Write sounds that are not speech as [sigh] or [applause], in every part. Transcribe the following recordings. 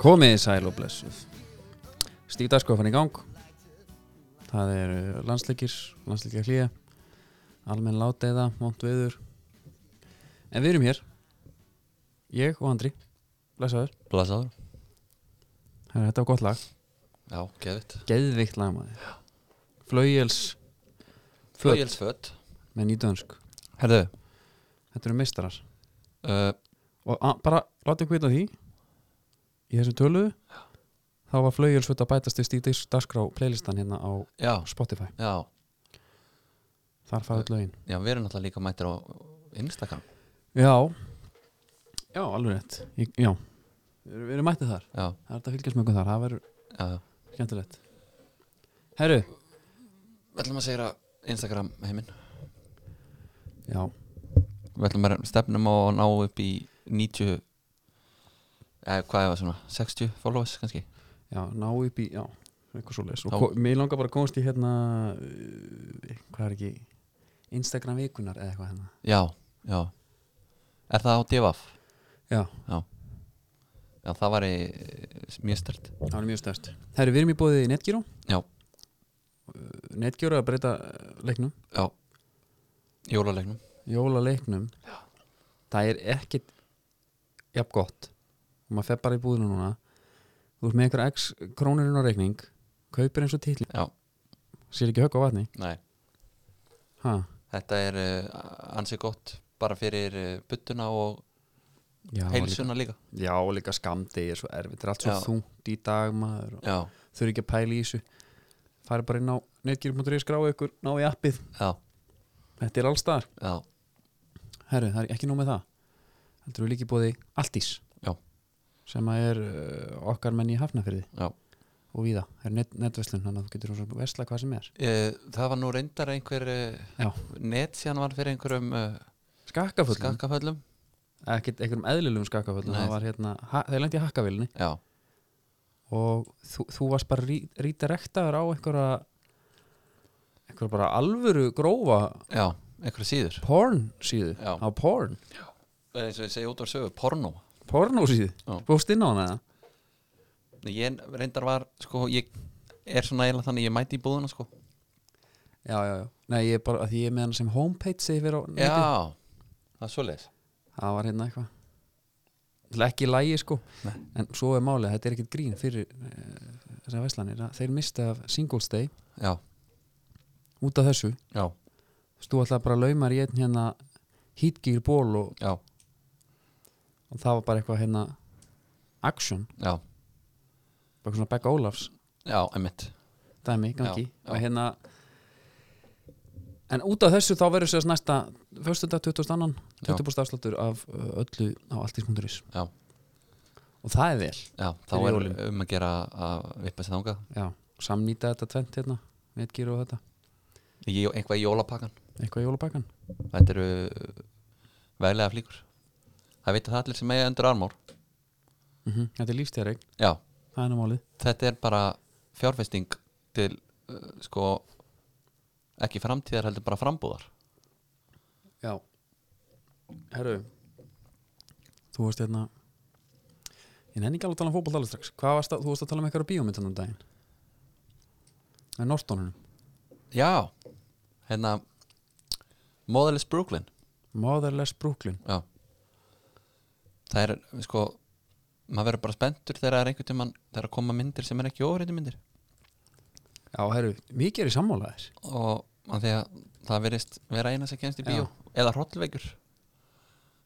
Komiði sæl og blessuð Stíf dagskofan í gang Það eru landsleikir, landsleikja hlýja Almenn láteiða, vont viður En við erum hér Ég og Andri Blessaður, Blasaður Herra, þetta var gott lag Já, geðvitt Geðvikt lag maður Flöjels Föt Flögilsföt með nýdönsk Herðu Þetta eru meistarar uh, Og a, bara láta ykkur vita því Í þessum töluðu Þá var flöjelsföt að bætast í Stíf dagskrá playlistan hérna á Já, Spotify já Þar fara öll lögin Já, við erum náttúrulega líka mættir á Instagram Já Já, alveg rétt ég, Já, við erum mættið þar Já, Það er hægt að fylgjast með okkur þar, það verður já, já skemmtilegt Herru Við ætlum að segja Instagram heiminn Já, Við ætlum að stefnum á að ná upp í 90 eða hvað er það svona 60 followers kannski já, ná upp í, já eitthvað svo leis og Já. ko- mér langar bara að komast í hérna uh, hvað er ekki Instagram vikunar eða eitthvað hérna Já, já Er það á divaf? Já, Já, það væri eh, mjög stert það var mjög stærst Herru, við erum í bóðið í Netgyro Já. Netgyro er að breyta uh, leiknum Já Jólalegnum Jóla leiknum Það er ekkit jafn gott og maður fer bara í búðinu núna þú ert með einhver x krónurinn á reikning kaupir eins og titli Já, sér ekki högg á vatni nei ha. Þetta er uh, ansi gott bara fyrir uh, buttuna og Já, og líka, heilsuna líka já, og líka skamdegi er svo erfitt, það er allt svo Já. þungt í dag maður og Já, þau eru ekki að pæla í þessu farið bara inn á netgear.is skráðu ykkur, ná í appið já, þetta er alls þar, já, herru, það er ekki nóg með það heldur við líki bóði Altís Já. sem að er uh, okkar menn í Hafnafyrði já. og víða, það er net, netverslun þannig að þú getur svo versla hvað sem er Eh, Það var nú reyndar einhver eh, Já. net síðan var fyrir einhverjum uh, skakkaföllum, Skak skakkaföllum ekkert einhverjum eðlilegum skakkaföllum Nei. það var hérna, ha, þeir lendi í hakkavillinni Já, og þú, þú varst bara rí, rítarektaður á einhverja einhverja bara alvöru grófa já, einhverju síður porn síðu, Já. á porn Eh, eins og ég segi út var sögu, porno porno síðu, Já. búst inn á hana eða? Ég reyndar var, sko, ég er svona eiginlega þannig ég mæti í búðuna, sko já, já, já, nei ég er bara, að því ég er með hana sem homepage yfir á neti. Já, það er svoleiðis það var hérna eitthvað Það er ekki lægi sko Nei. en svo er málið, að þetta er ekkert grín fyrir uh, þessar veslanir, að þeir mista af singles day Já, út af þessu, já, Þú veist, þú ætlaði bara að laumar í einn hérna hítgýr ból og, já, og það var bara eitthvað hérna action, já, bara svona Beck Ólafs já, emmitt dæmi, í gangi Já, já. og hérna en út af þessu þá verður sérst næsta föstudag 22. 20% afsláttur af uh, öllu á alltísmunduris Já. og það er vel Já, þá Fyrir er jólin. um að gera að vippa sér þangað já, samnýta þetta tvent hérna netgýr og þetta, Ég einhvað í jólapakkan eitthvað í jólabækan Þetta eru veglega flíkur Það veit að það allir sem eiga undir armór mm Mhm. þetta er lífstjæreik, Já, það er nú málið þetta er bara fjárfesting til uh, sko ekki framtíðar heldur bara frambúðar Já Herru Þú varst hérna Ég nenni ekki alveg að tala um fótbolt alveg strax Hvað varst að, þú varst að tala um eitthvað á bíómyndunum daginn Það er Nortonunum Já, hérna Motherless Brooklyn Motherless Brooklyn Já Það er sko maður verður bara spenntur þegar það er einhvern tímann þegar að koma myndir sem er ekki ofreiti myndir Já, herru, mikið er í sammála þér og að því að það verðist vera eina sem kemst í bíó eða hrollveikur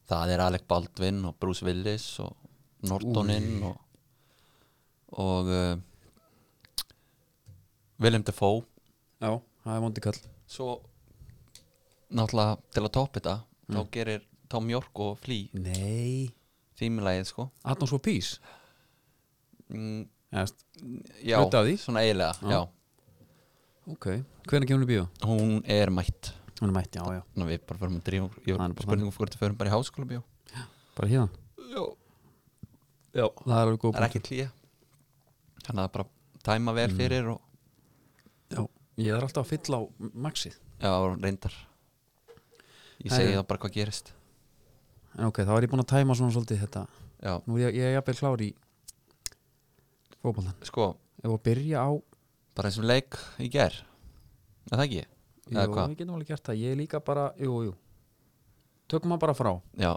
það er Alec Baldwin og Bruce Willis og Nortoninn og, og uh, Willem Dafoe Já, það er vondi kall svo náttúrulega til að toppa þetta Mm. þá gerir Tom York og Flea Nei þýmulegið sko Adams for Peace mm, Eðast, já, Hluti af því? svona eiginlega Já. já. Ok, hvernig kemur hún í bíó? hún er mætt Hún er mætt, já, já Ná, við bara förum að drífa ég Hann er bara spurningum fyrir að förum bara í háskóla bíó Bara hérna já Já Það er alveg góð það er ekki klíja þannig að bara tæma vel fyrir og punktur. Já Ég er alltaf að fylla á maxið já, reyndar ég Það segi er- það bara hvað gerist En ok, þá er ég búin að tæma svona svolítið þetta já, Nú er ég, ég er jafnvel klár í fótboltan sko, Ef að byrja á bara þessum leik í ger er það ekki? Eða Jú, hvað? við getum alveg gert það, ég er líka bara Jú, jú, tökum maður bara frá Já,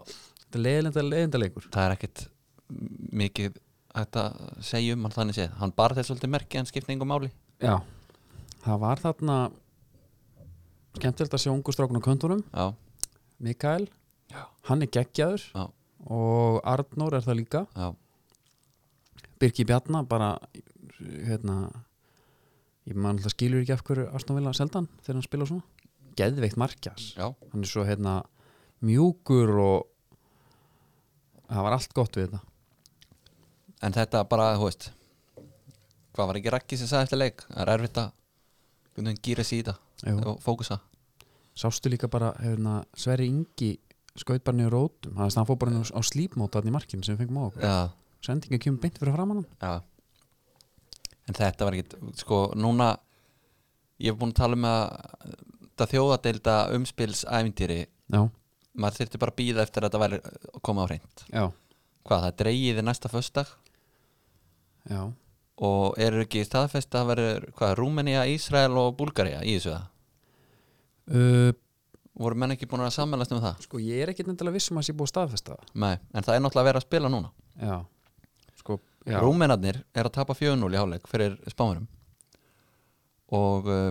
Þetta er leiðinda, leiðinda leikur það er ekkit m- mikið hægt að segja um hann þannig séð hann bara þess svolítið merki, hann skipti engum máli Já, það var þarna Skemmtilegt að sjá ungu strákun á köntunum já, Mikael, Já. hann er geggjaður Já. og Arnór er það líka já, Birki Bjarnar bara hérna ég mann alltaf skilur ekki af hverju Aston Villa seldan þegar hann spila svona geðveikt markjas, já, hann er svo hérna mjúkur og það var allt gott við þetta en þetta bara, þú veist hvað var ekki Raggi sem sagði eftir leik það er erfitt að hvernig hann gýra sig í þetta Jú. og fókusa sástu líka bara hérna, Sverri Ingi skaut bara niður rótum Þannig að hann fór bara niður á slípmóta þarna í markinu sem við fengum á okkur já, sendinga kemur beint fyrir framann hann já en þetta var ekki, sko, núna ég hef búin að tala um að þetta þjóðadeilda umspilsævindýri já, maður þyrfti bara að býða eftir að þetta væri að koma á reynd já, hvað, það er dregið í næsta föstdag já og eru ekki staðfest að það verður hvað, Rúmenía, Ísrael og Búlgaría í þessu það? uh, Voru menn ekki búin að sammælast um það? sko ég er ekkit endilega viss um að sé búið að staðfesta það. Nei, en það er náttúrulega að vera að spila núna já, sko já, Rúmenarnir er að tapa 4-0 í hálfleik fyrir spámurum og uh,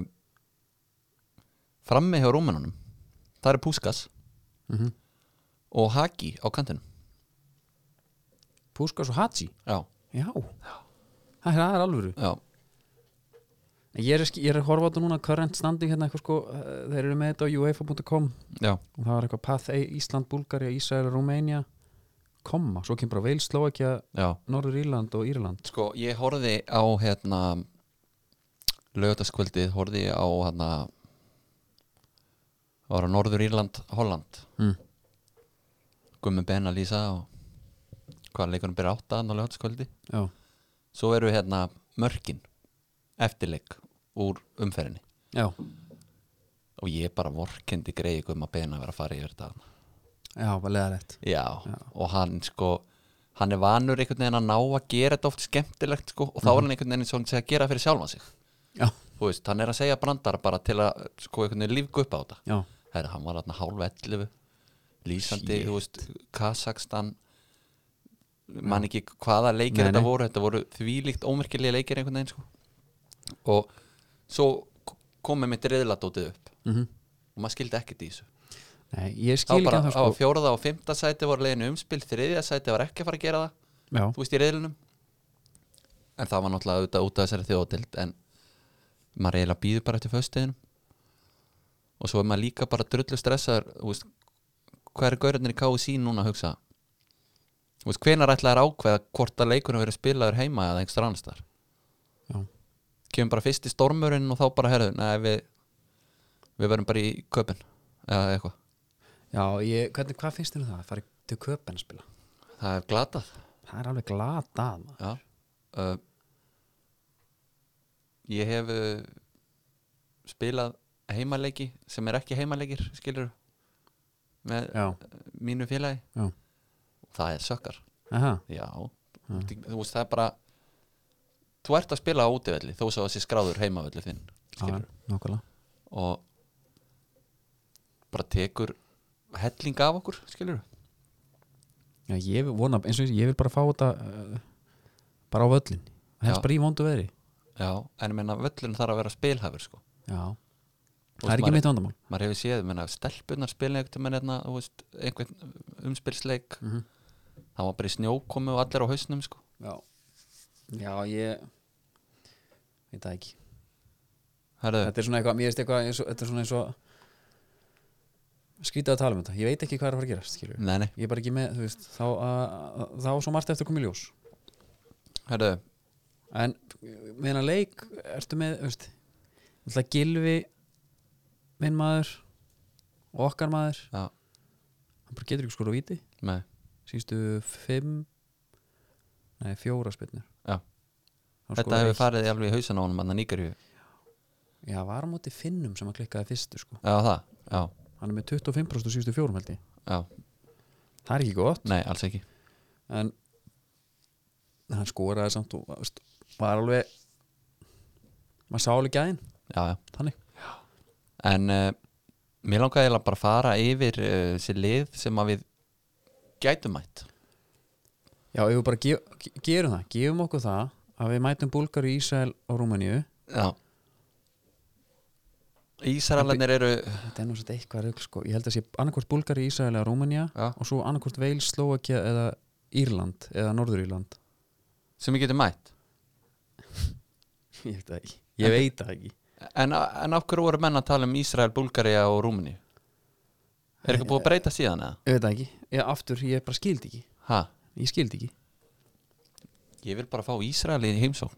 frammi hjá Rúmenunum það er Púskas Mhm. og Haki á kantinum Púskas og Haji Já, Já, Það, er- það er alvöru já, Ég er, ég er að horfa á þetta núna current standing hérna eitthvað sko, eh, þeir eru með þetta á uefa.com já, og það var eitthvað Path A, Ísland, Búlgaria, Ísrael, Rúmenia komma, svo kemur bara Veil, Slovakia já Norður Írland og Írland Sko, ég horfði á hérna lögutaskvöldið horfði ég á hérna það var á Norður Írland, Holland mm. Gummi Ben að lýsa og hvað leikunum byrja átta hann á lögutaskvöldi Já, svo eru hérna mörkin eftirleik úr umferðinni já, og ég bara vorkendi greið Gumma Ben um að vera að fara yfir þetta þarna. já, bara leða rétt Já, og hann sko hann er vanur einhvern veginn að ná að gera þetta oft skemmtilegt sko og þá er hann einhvern veginn svona að gera fyrir sjálfan sig Já, þú veist, hann er að segja brandara bara til að sko einhvern veginn lífgu upp á þetta já, Herra, hann var hann hálf 11 lýsandi, þú veist, Kazakstan man ekki hvaða leikir Nei, þetta nei. voru þetta voru þvílíkt ómerkilega leikir einhvern veginn sko. og svo komið mitt reyðladótið upp mhm og maður skildi ekkert í þessu Nei, ég þá skil ekki bara að það á sko fjóraða og fymta sæti voru leiðinu umspil, þriðja sæti var ekki að fara að gera það Já, þú veist, í reyðlunum en það var náttúrulega auðvitað út af þessari þjóðatild en maður eiginlega býður bara eftir föstuðinum og svo er maður líka bara drullu stressaður þú veist, hvað er gaurarnir í KSI núna að hugsa þú veist, hvenar ætlaður ákveða hvort að leikunum verið spilaður heima eða einhver annars þar já, kemur bara fyrst í stormurinn og þá bara herðu, nei við við verðum bara í köpinn eða eitthvað, já ég, hvernig, hvað finnst þér um það? Það er til köpen að spila það er glatað Það er alveg glatað maður. Já uh, Ég hef uh, spilað heimaleiki sem er ekki heimaleikir skilur með Já, mínu félagi já, það er sökkar aha, Já, þú veist það er bara þú ert að spila á útivelli þó svo að þessi skráður heimavelli þinn já, skilur nákvæmlega og bara tekur helling af okkur skilur Já, ég vil vona, eins og ég, ég vil bara fá þetta uh, bara á völlin helst Já. bara í vondu veðri Já, en ég meina völlun þarf að vera spilhafur sko Já, það Og er maður- ekki mitt vandamál maður hefur séð, menna, stelpunar spila einhvern veginn hérna, þú veist, einhvern umspilsleik Mhm. það var bara í snjókomi og allir á hausnum sko. Já, já ég veit það ekki Herðu, Þetta er svona eitthvað, mér veist eitthvað eins og, þetta er svona eins og skrítið að tala um þetta ég veit ekki hvað er að fara að gerast, skilju nei, nei, Ég er bara ekki með, þú veist, þá, uh, þá á svo margt eftir að koma í ljós herðu En með hennar leik ertu með, þú veist alltaf gilfi minn maður og okkar maður já, hann bara getur ekki skora víti nei, síðustu fimm nei, fjóra spilnir já. þetta hefur farið í alveg í hausan á honum hann að nýgarju, já, var á móti finnum sem að klikkaði fyrstu sko. já það já, hann er með 25% síðustu fjórum held ég já, það er ekki gott nei, alls ekki en en hann skoraði samt og veist, var alveg maður sá alveg gæðin já, já. þannig en uh, mér langaði eiginlega bara að fara yfir uh, þessi lið sem að við gætum mætt já, ef við bara gef, ge- gerum það gefum okkur það að við mætum Búlgaru, Ísrael og Rúmeníu já Ísraelarnir eru þetta er nú svolítið eitthvað rugl sko ég held að sé annarkvort Búlgaru, Ísrael eða Rúmenía já, og svo annarkvort Veils, Slovakia eða Írland eða Norður Írland sem við getum mætt [laughs] ég veit það ekki Ég veit það ekki en, en af hverju voru menn að tala um Ísrael, Búlgaria og Rúmini er eitthvað búið að breyta síðan eða? ég veit það ekki ég, aftur, ég bara skildi ekki Ha? ég skildi ekki ég vil bara fá Ísrael í heimsókn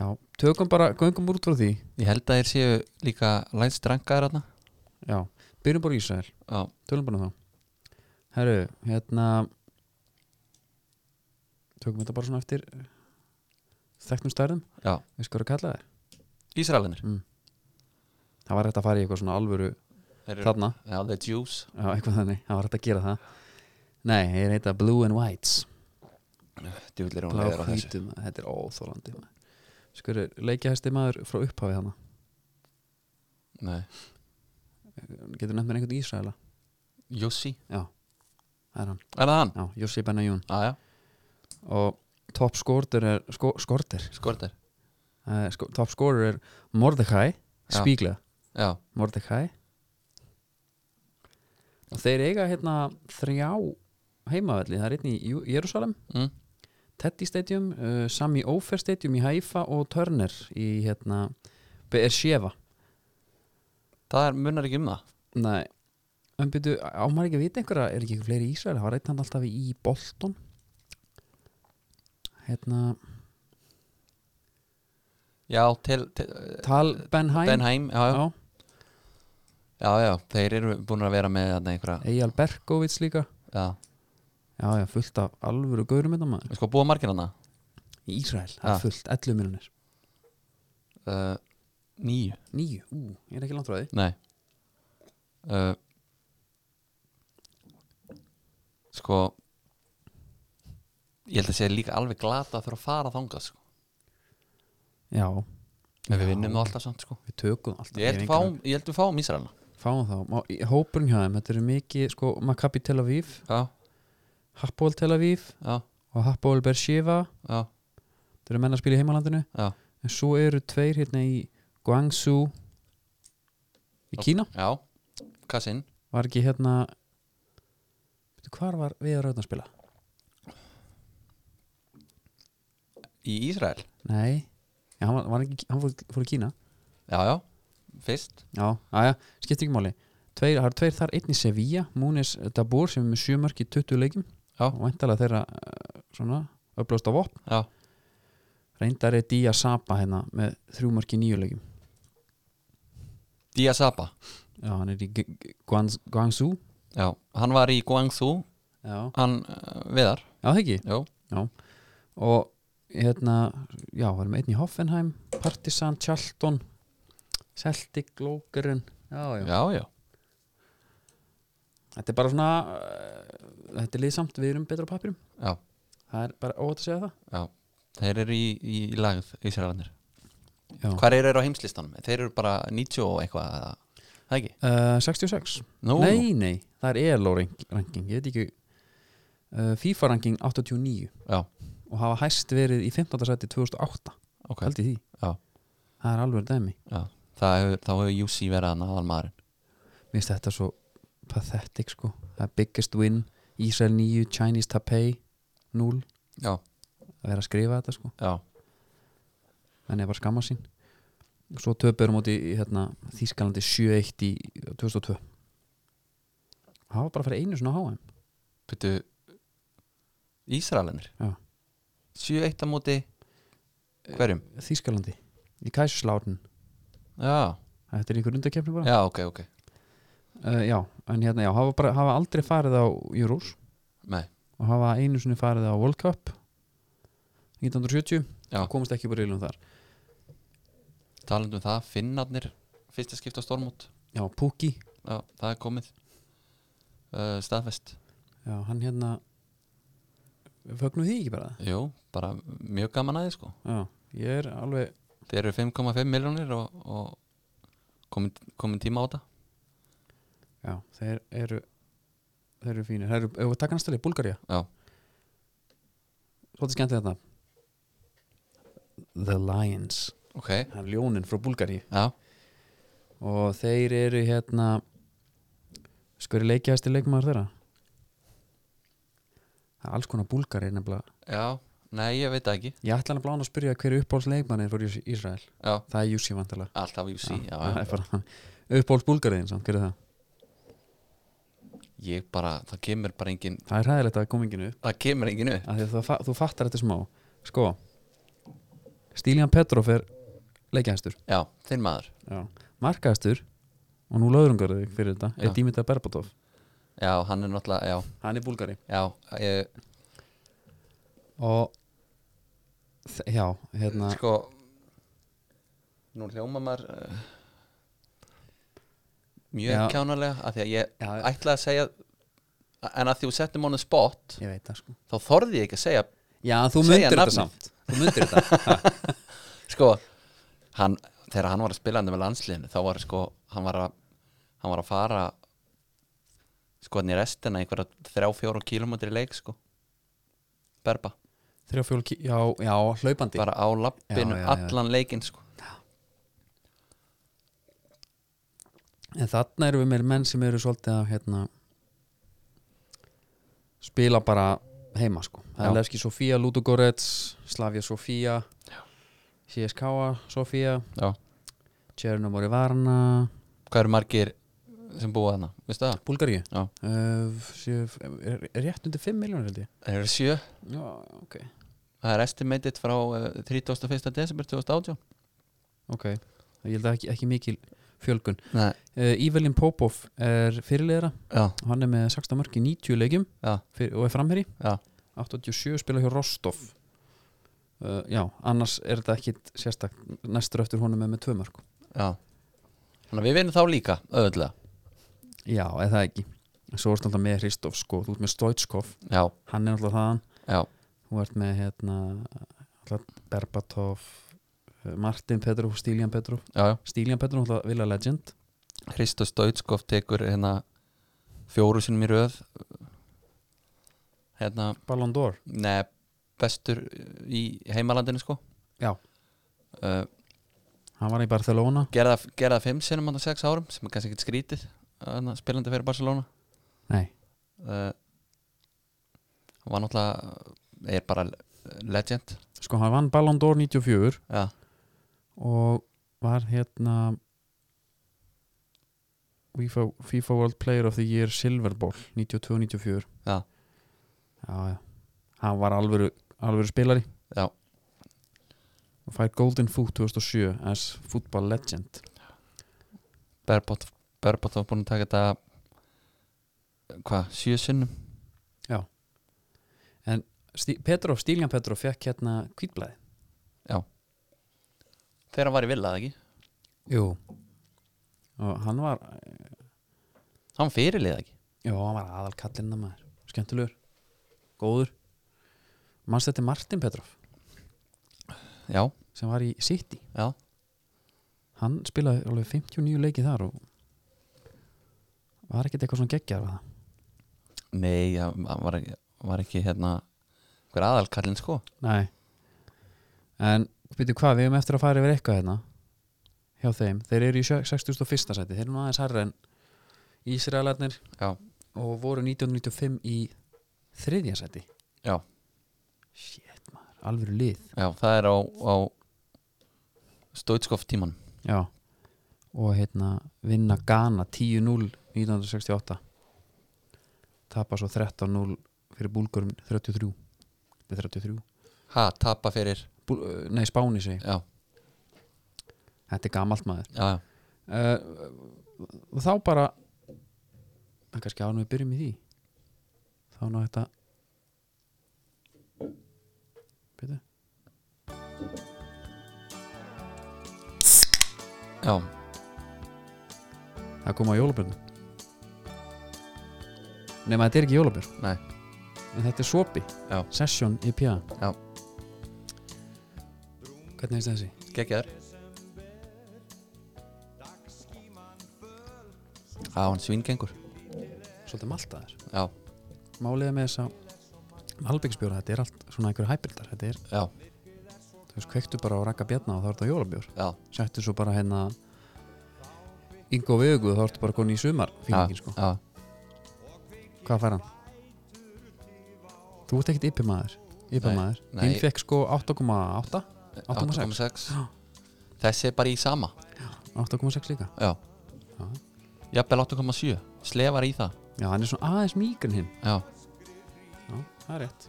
já, tökum bara, göngum úr út frá því ég held að þeir séu líka lægstrangaðir þarna já, byrjum bara á Ísrael já, Tölum bara um það Herru, hérna Tökum þetta bara svona eftir Þekknum stærðum já, Við skorum að kalla þér Ísraelinir Það var hægt að fara í eitthvað svona alvöru Þarna, já, the Jews já, eitthvað þannig Það var hægt að gera það Nei, ég heita Blue and Whites djúlir hún Blá leður á þessu hvítum, þetta er óþólandi Skur, leikjahæsti maður frá upphafi hana Nei. Getur nefnt mér einhvern Ísraela Jussi, Já, það er hann er það hann? Já, Jussi Benajún já, já, Og top skorter er sko, Skorter? skortir uh, sko, top scorer er Mordecai Já. Spígla, já, Mordecai og þeir eiga hérna þrjá heimavelli, það er einn í Jú- Jerusalem mm. Teddy Stadium, uh, Sami Ofer Stadium í Haifa og Turner í hérna Beersheva það er, munar ekki um það Nei, en byrju, á maður ekki að vita einhverja er ekki einhver fleiri í Ísrael, það var einn hann alltaf í Bolton hérna já, til, til Tal Benheim, Benheim, já, já, Já, já, já þeir eru búin að vera með þarna einhverja Eyjal Berkovits líka já, Já, já, fullt af alvöru gaurum þetta maður sko búa margir hana Í Ísrael, það Ah. er fullt, 11 miljonir uh, nýju, Nýju, ú, ég er ekki langt frá því nei uh, sko ég held að sé líka alveg glata að þurfa að fara þangað sko. Já, ef við Já. vinnum það alltaf samt sko. við tökum alltaf ég held við fáum, ég held við fáum Ísraelna Fáum þá, Má, í- hópurinn hjá þeim, þetta eru mikið sko, Maccabi Tel Aviv, já, Hapoel Tel Aviv já, og Hapoel Beersheva já, Þetta eru menn að spila í heimalandinu já En svo eru tveir hérna í Guangzhou Í Kína, já, Kassin var ekki hérna Veitu, Hvar var við að raun að spila? í Ísrael Nei, já, hann, var, var ekki, hann fór, fór í Kína já, já, fyrst Já, aðja, skiptir ekki máli Tveir, það eru tveir þar, einn í Sevilla Múnis Dabur sem er með 7 mörg í 20 leikum Já. og væntalega þeirra eh, svona, upplöst á vopn já, reyndar er Día Sapa hérna með 3 mörg í 9 leikum Dia Sapa Já, hann er í G- G- Guangz- Guangzhou já, hann var í Guangzhou Já, hann uh, viðar, já það ekki já, og hérna, já, við erum einn í Hoffenheim Partisan, Charlton Celtic, Lókerun já, já, já, já þetta er bara svona uh, þetta er liðsamt, við erum betra á papirum já, það er bara óvægt að segja það já þeir eru í, í, í lagð Ísraelanir Já. hvar eru þeir á heimslistanum? þeir eru bara 90 og eitthvað eða- það ekki? uh, 66 Nú, Nei, nei, það er ELO rank- ranking Ég veit ekki uh, FIFA ranking 89 já, og hafa hæst verið í 15. sæti 2008 ok held ég því Já. Það er alveg dæmi já. Það hefur, þá hefur Jussi verið hann aðal maðurinn Mér finnst þetta svo pathetic sko Það er biggest win, Israel 9 Chinese Taipei 0 já, að vera að skrifa þetta sko já, Þannig er bara skamma sín Svo töpurum átti hérna, Þískalandi 7-1 í 2002 Það var bara fyrir einu svona háum betu Ísraelanir Já. 7-1 á móti hverjum? Þískalandi í Kæsusláten Eh, Já, Þetta er einhver undakefni bara já, ok, ok Uh, já, en hérna, já, hafa, bara, hafa aldrei farið á Euros Nei, og hafa einu sinni farið á World Cup 1970 Já. komast ekki bara reilum þar talandi um það, finnarnir fyrsta skipta á stormót Já, Pukki, já, það er komið uh, staðfest já, hann hérna fögnum því ekki bara Jú, bara mjög gaman aðeins sko já. Ég er alveg Þeir eru 5,5 miljónir og, og komin, komin tíma á þetta Já, þeir eru Þeir eru fínir Þeir eru, ef við taka næsta leið, Búlgaria Já. Svolítið skemmtið þetta The Lions Ok, Það er ljónin frá Búlgari já, Og þeir eru hérna Skori leikjæðasti leikmaður þeirra Það er alls konar Búlgari nefnilega já, nei, ég veit það ekki Ég ætla nefnilega að spyrja hverju uppáhalds leikmanni er fyrir Ísrael Já, Það er Jussi vantilega alltaf UC, já, það já, er bara uppáhalds búlgariðin samt, gerðu það Ég bara, það kemur bara engin það er hæðilegt að koma enginu Það kemur engin upp að þú, fa- þú fattar þetta smá sko, Stílian Petrov er leikjæðastur, Já, þinn maður markaðastur og nú löðrungar þig fyrir þetta Já. er Dimitar Berbatov, Já, hann er náttúrulega, já, hann er búlgari já ég, og þ- já, hérna Sko Nú hljóma maður uh, Mjög Já. kjánalega af Því að ég Já. ætla að segja En að því þú settum honum spot ég veit það sko Þá þorði ég ekki að segja já, þú Segja myndir þetta nafnið. samt þú myndir þetta, Ha, Sko, hann, þegar hann var að spila hann með landsliðinu Þá var sko, hann var að Hann var að fara Sko, hann í restina einhverja Þrjá, fjóru kílómetri leik, sko Berba [laughs] þrjá fjól, ki- já, já, hlaupandi bara á lappinu Já, já, já. allan leikinn sko. en þarna erum við með menn sem eru svolítið að hérna, spila bara heima sko það Já. er Levski Sofía, Ludogorets Slavia Sofía CSKA Sofía Já. Tjerno Morivarna hvað eru margir sem búa þarna, veistu það? Búlgaríu Já. uh, sjö, er, er rétt undir 5 miljónir held ég Það eru sjö, já, ok, það er estimated frá uh, 31. desember 2018 ok ég held að ekki, ekki mikil fjölgun Nei, uh, Ívelin Popov er fyrirleira já, hann er með 16 mörki í 90 leikjum já, fyrir, og er framherri já 87 spila hjá Rostov uh, já, annars er þetta ekkit sérstak næstur eftir honum er með tvö mörg já Þannig að við vinnum þá líka, auðvitað já, eða það ekki svo ertu alltaf með Hristof sko, þú ert með Stoitskov Já, hann er alltaf þaðan, já, þú ert með hérna, alltaf Berbatov uh, Martin Petrov, Stílian Petrov já, já Stílian Petrov, alltaf vilja legend Hristos Deutskov tekur hérna fjóru sinum í röð hérna, Ballon d'Or, neð bestur í heimalandinu sko Já. uh, hann var í Barcelona gerða, gerða fimm sinum á sex árum sem er kannski ekkert skrítið hana, spilandi fyrir Barcelona nei, uh, var náttúrulega er bara legend sko hann vann Ballon d'Or 94 já, og var hérna FIFA, FIFA World Player of the Year Silver Bowl 92-94 Já. já, já hann var alvöru, alvöru spilari Já. og fær Golden Foot 2007 as Football Legend Berbot Berbot var búin að taka þetta eh, hvað, sjö sinnum Stí Petrov, Stíljan Petrov fekk hérna kvítblæði þegar hann var í villað ekki, Jú og hann var, hann fyrirlið ekki já hann var aðal kallinn að maður, skemmtilegur góður manst þetta er Martin Petrov já, sem var í City já, hann spilaði alveg 59 leiki þar og var ekkert eitthvað svona geggjar var það? nei hann var, ekki- var ekki hérna hver aðalkallinn sko Nei En byrju hvað, við hefum eftir að fara yfir eitthvað hérna hjá þeim, þeir eru í sjö- 61. sæti þeir eru nú aðeins herra en Ísraelarnir já, og voru 1995 í þriðja sæti já, Shit maður, alvöru lið já, það er á, á Stoitskov tíman Já og hérna vinna Ghana 10-0 1968 tapa svo 13-0 fyrir búlgurum 33 Þetta er 33 ha, tapa fyrir, Bú, uh, nei, Spáni segi, ég. já, þetta er gamalt maður já, já uh, og þá bara en kannski ánum við byrjum í því þá ná þetta Byrju. já, það kom á jólabjörn nema þetta er ekki jólabjörn nei, en þetta er sopi, Já. session IPA Já. Hvernig finnst þér þessi? Gekkjar Á, hann svingengur Svolítið maltaður Já, Málið er með þess að Malbyggsbjóra, þetta er allt svona einhverju hybridar Þetta er, já, þú veist, kveiktu bara á rakka bjarna og þá er þetta jólabjór já Settu svo bara hérna Ingo Veguð, þá ertu bara koni í sumar já, Fílingin, sko já. Hvað fær hann? Þú ert ekkert yppimæður Yppimæður Nei, nei. Hinn fekk sko 8,8 8,6. 8,6 Þessi er bara í sama 8,6 líka Já, Já. jafnvel 8,7 Slefar í það Já, hann er svona aðeins mýkun hinn Já, Já, það er rétt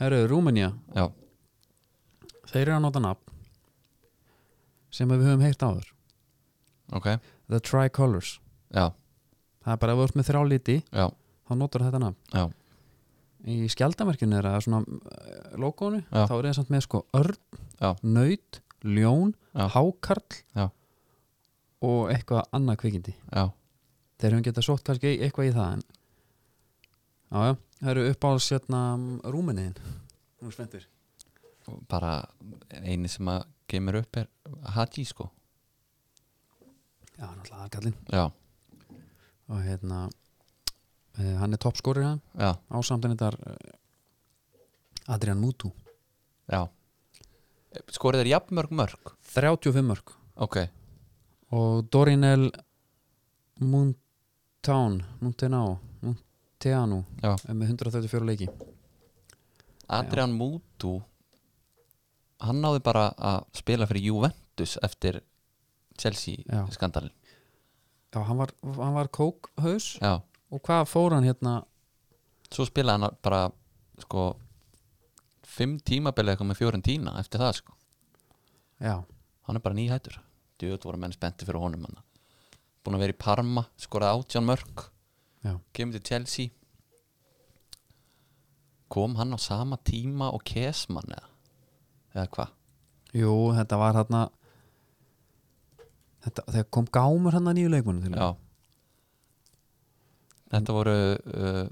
Herru, Rúmenía já, Þeir eru að nota nafn sem við höfum heyrt áður ok The Tricolors Já, Það er bara að við erum með þrjá liti já, þá notar þetta nafn já, Í skjaldamerkinu er það svona eh, logoinu, Já. þá er það samt með sko örn, Já. naut, ljón Já. hákarl Já. og eitthvað annað kvikindi já Þeir höfum getað sótt kannski í- eitthvað í það en Já, já, það eru uppáhalds hérna rúmeniðin Nú er spenntur Bara eini sem að kemur upp er Haji sko Já, náttúrulega aðgallin Já, og hérna eh, hann er toppskorið hann já, ásamt en þetta er eh, Adrian Mutu já Skorið er jafnmörg mörg 35 mörg Ok, og Dorinel Muntown Muntenau Munteanu já er með 134 leiki Adrian Mútu hann náði bara að spila fyrir Juventus eftir Chelsea Já. skandalin já, hann var, hann var kókhaus já. og hvað fór hann hérna svo spilaði hann bara sko fimm tímabili eitthvað með fjórun tína eftir það sko, já, hann er bara nýhættur djöð voru menn spennti fyrir honum hann búin að vera í Parma, skoraði átján mörg já, kemur til Chelsea kom hann á sama tíma og Kesman eða, eða hvað jú, þetta var hérna þetta, þegar kom gámur hann að nýju leikmunum til Já Þetta voru uh,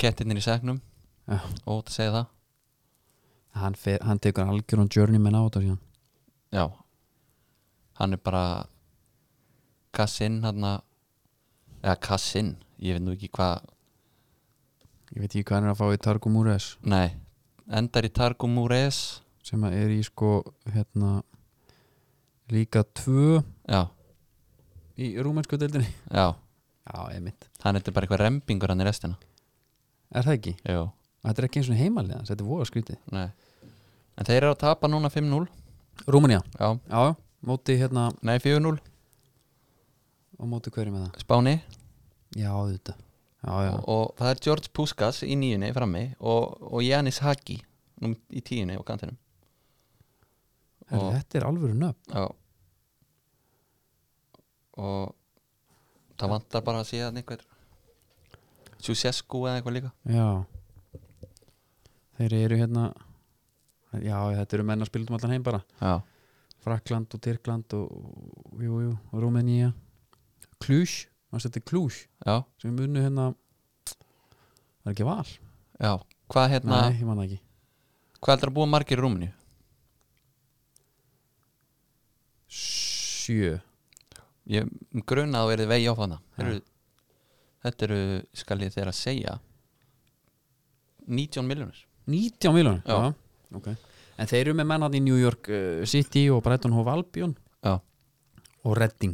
kettinir í segnum Já. Ótt að segja það hann, fer, hann tekur algjörun journeyman á þetta síðan Já Hann er bara Kassinn hann eða Kassinn, ég veit nú ekki hvað ég veit ekki hvað hann er að fá í Targo Múres Nei, endar í Targum Múres sem að er í sko hérna líka tvö Já, í rúmensku deildinni [laughs] já Já, einmitt Hann er bara eitthvað rembingur hann í restina Er það ekki? Jó, Og Þetta er ekki eins og heimalið hans, þetta er voða skrítið nei En þeir eru að tapa núna 5-0 Rúmenía, Já, já, já, móti hérna nei 4-0 og móti hverju með það Spáni Já, þetta Já, já, og, og það er George Puskas í nýjunni frammi og, og Janis Hagi númer í tíunni og kantinum Herri, og- þetta er alvöru nöfn Já. og það vantar bara að sé að einhver Sjúsesku eða eitthvað líka Já Þeir eru hérna Já, þetta eru menn að spila um allan heim bara já, Frakland og Tyrkland og, og jú, jú, og Rúmenía Klús, mannst þetta er Klús já, sem við munum hérna Það er ekki val já hvað hérna, Nei, ég man það ekki hvað heldur að búa margir í rúminu Sjö ég gruna að þú verið vegi á hana Já. eru, þetta eru skal ég þeirra segja 19 miljónir 19 miljonir Já. En þeir eru með mennan í New York uh, City og Brighton Hove Albion já, og Redding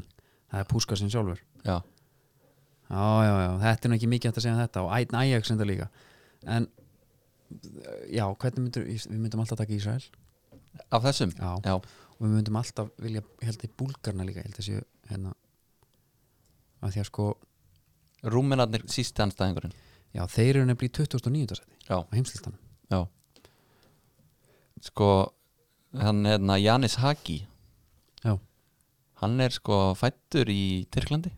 Það er púska sinn sjálfur já, Já, já, já, þetta er nú ekki mikið hægt að segja um þetta og Ætn Ajax enda líka En, uh, já, hvernig myndur við myndum alltaf taka Ísrael af þessum Já, já, og við myndum alltaf vilja ég held í búlgarna líka, ég held þessi hérna að því að sko, rúminarnir sísti anstæðingurinn já, þeir eru nefnilega í 2009. seti já, á heimslistanum Já Sko hann er hérna Janis Hagi Já. Hann er sko fættur í Tyrklandi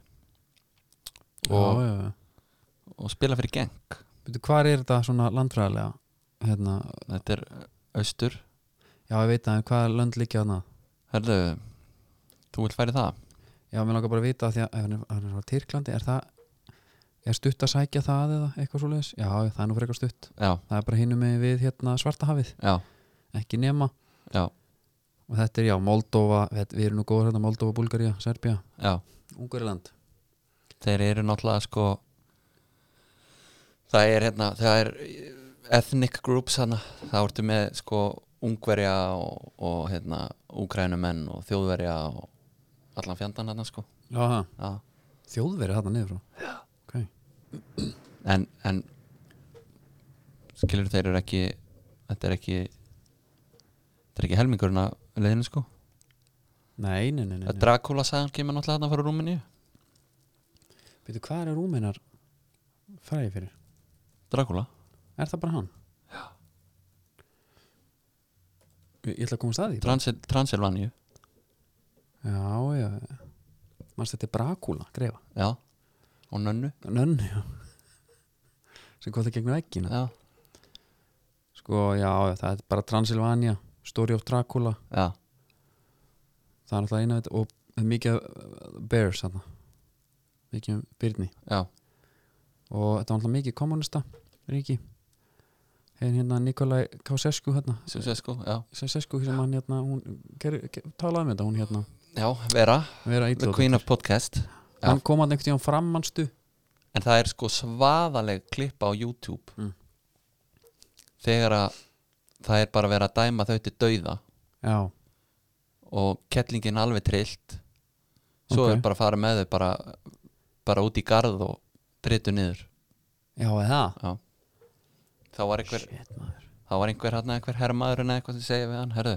Og- Já, já, já og spila fyrir geng Veitu, hvar er þetta svona landfræðilega hérna, Þetta er uh, austur já, ég veit að hvað lönd líkja þarna Herðu, þú vil færi það? Já, mér langar bara að vita að því að ef hann er- hann er frá Tyrklandi, er það er stutt að sækja það eða eitthvað svoleiðis? Já, það er nú frekar stutt. Já, Það er bara hinum með við hérna svartahafið, já, ekki nema já, og þetta er já, Moldova, þetta- við erum nú góður hérna Moldova, Búlgaría, Serbia, já Ungariland þeir eru náttúrulega sko það er hérna það er ethnic groups hana það ertu með sko ungverja og, og hérna úgrænumenn og þjóðverja og allan fjandan hana sko Já, það, já. þjóðveri þarna niður frá Já okay. en, en skilur þeir eru ekki þetta er ekki þetta er ekki helmingurinn að leiðinu sko Nei, nei, nei, nei, að nei. Dracula sagan kemur náttúrulega þarna fyrir Rúmeníu Veitu, hvað er rúminar fræði fyrir? Dracula Er það bara hann? Já Ég, ég ætla að koma að staði Transil, Transilvaníu Já, já Manst þetta er Brakula, greifa já og Nönnu Nönn, já sem kom það gegnum veggina já Sko, já, já, það er bara Transylvania Story of Dracula já Það er alltaf eina veit og það er mikið af uh, bears þarna mikið um byrni já og þetta var alltaf mikið kommunista ríki hefði hérna Nikolai Kausescu hérna sem sé sko já Sesescu sem hann hérna hún ger, ger, talaði um þetta hún hérna Já, Vera, vera The ítla Queen of Podcast já. hann kom hann einhvern tíðan frammanstu En það er sko svaðaleg klippa á YouTube Mm. Þegar að það er bara verið að dæma þau til dauða já, Og kettlingin alveg trillt Svo Ok. er bara að fara með þau bara, bara út í garð og dritu niður já eða Já Þá var einhver, Shit, maður. þá var einhver hann einhver herrmaður en eitthvað sem segja við hann Herðu,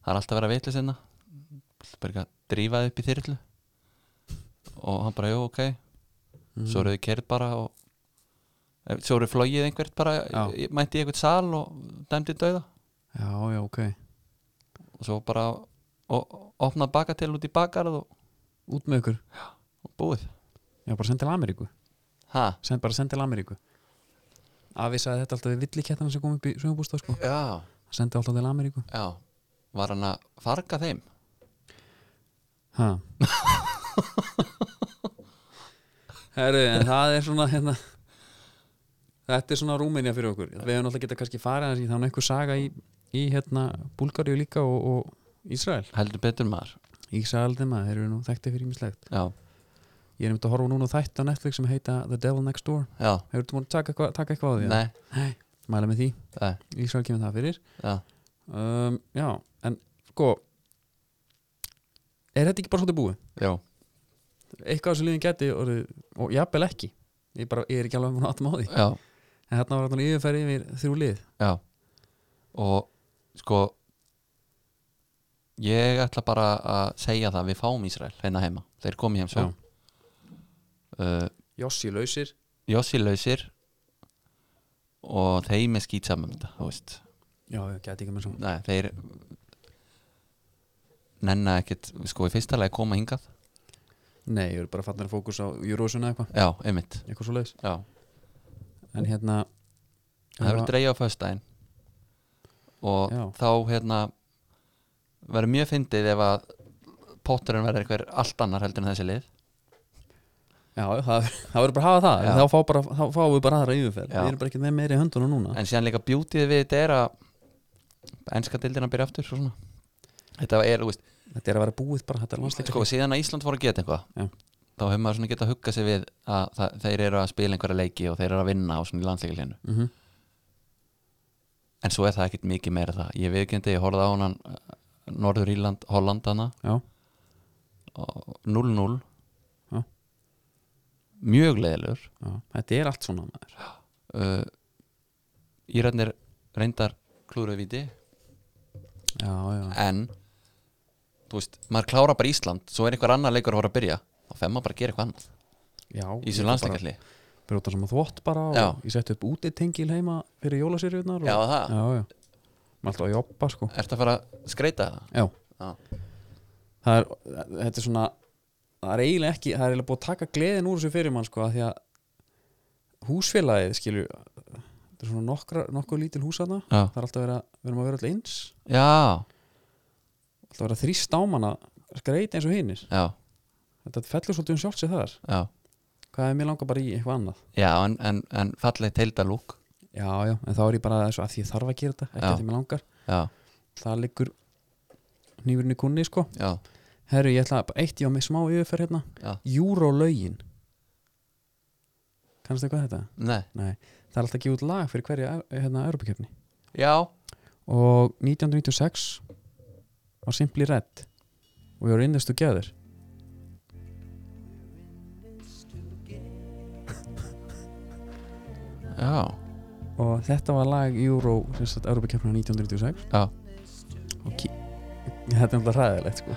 það er alltaf að vera vitlega sinna Bara ekki að drífa þau upp í þyrlu Og hann bara, jú, ok Mm. svo eru þið kerð bara og eh, svo eru flogið einhvert bara Já. í- mætti í einhvert sal og dæmdi dauða já, já, ok og svo bara og, opnað baka til út í bakarð og, út með ykkur, og búið já bara send til Ameríku ha? send, bara send til Ameríku afi sagði þetta alltaf við villikettan sem kom upp í sögumbústað sko já, sendi alltaf til Ameríku já var hann að farga þeim ha [laughs] herru, en það er svona hérna Þetta er svona Rúmenja fyrir okkur Við hefum alltaf getað kannski farið aðeins í þannig einhver saga í, í hérna Búlgaríu líka og, og Ísrael heldur betur maður Ísaldima, þeir eru nú þekkti fyrir ímislegt já, Ég er einmitt að horfa núna á þætt á Netflix sem heita The Devil Next Door já, Hefur þú múin að taka eitthvað, taka eitthvað á því? nei Mæla með því, nei, Ísrael kemur það fyrir já, um, Já, en sko Er þetta ekki bara svolítið búið? já, Eitthvað af þessu liðin geti orðið, og jafnvel ekki ég, bara, ég er ekki alveg múin að áttum á því já, En þarna var þarna yfirferði yfir þrjú lið já og sko ég ætla bara að segja það við fáum Ísrael hérna heima, þeir komið heim svo Já. uh, Jossi lausir Jossi lausir og þeim er skýt saman um þetta, þú veist Já, ég geti ekki með svona Nei, þeir nenna ekkit, sko í fyrsta lagi koma hingað Nei, ég er bara fattin að fókus á Eurosun eða eitthvað já, einmitt Eitthvað svo laus já. En hérna það verður dreigja á föstudaginn og Já. þá hérna verður mjög fyndið ef að potturinn verður einhver allt annar heldur en þessi lið Já, það, það verður bara að hafa það Já. en þá, fá bara, þá fáum við bara aðra yfirferð Já. Við erum bara ekki með meiri í höndunum núna en síðan líka bjútið við þetta er að enska dildina byrja aftur og svona þetta er, þú veist, Þetta er að vera búið bara, þetta er landsleik sko, síðan að Ísland voru að geta eitthvað Já. þá hefur maður svona geta að hugga sig við að það, þeir eru að spila einhverja leiki og þeir eru að vinna á svona landsleikileginu mm -hmm. en svo er það ekkit mikið meira það ég viðkendi, ég horfði á hann Norður Íland, Holland hana Já, og 0-0 Já. mjög leðilur já, þetta er allt svona maður uh, Írarnir reyndar klúruð viti Já, já, en þú veist, maður klára bara Ísland svo er einhver annar leikur að voru að byrja þá fer maður bara að gera eitthvað annað já í þessu landsleikarli Brjóta saman þvott bara og Já. Ég setti upp úti tengil heima fyrir jólasýrjurnar og... Já, það. Já, já Maður alltaf að jobba sko Ertu að fara að skreita það? Já, Já, það er, þetta er svona Það er eiginlega ekki, það er eiginlega búið að taka gleðin úr þessu fyrir mann sko af Því að húsfélagið skilur Þetta er svona nokkra, nokkuð lítil húsana já, Það er alltaf að vera, við erum að vera alltaf eins já, alltaf að vera þrýst á manna skreit eins og hinnir já, þetta fellur svolítið um sjálft sér þar já. hvað er mér langar bara í eitthvað annað já en, en, en fallið teildalúk já já, en þá er ég bara þessu að því ég þarf að gera þetta ekki Já. að því mér langar já, það liggur nýfurinn í kunni sko já, herru ég ætla bara eitt ég á mig smá yfirferð hérna já, Júrólögin kannast eitthvað þetta? nei Nei, það er alltaf að gefa út lag fyrir hverja hérna Europakefni Já, og 1996 var Simply Red We Are In This Together já, og þetta var lag Euro sem sagt Europakefni 1996 Já. og key, þetta er alltaf hræðilegt sko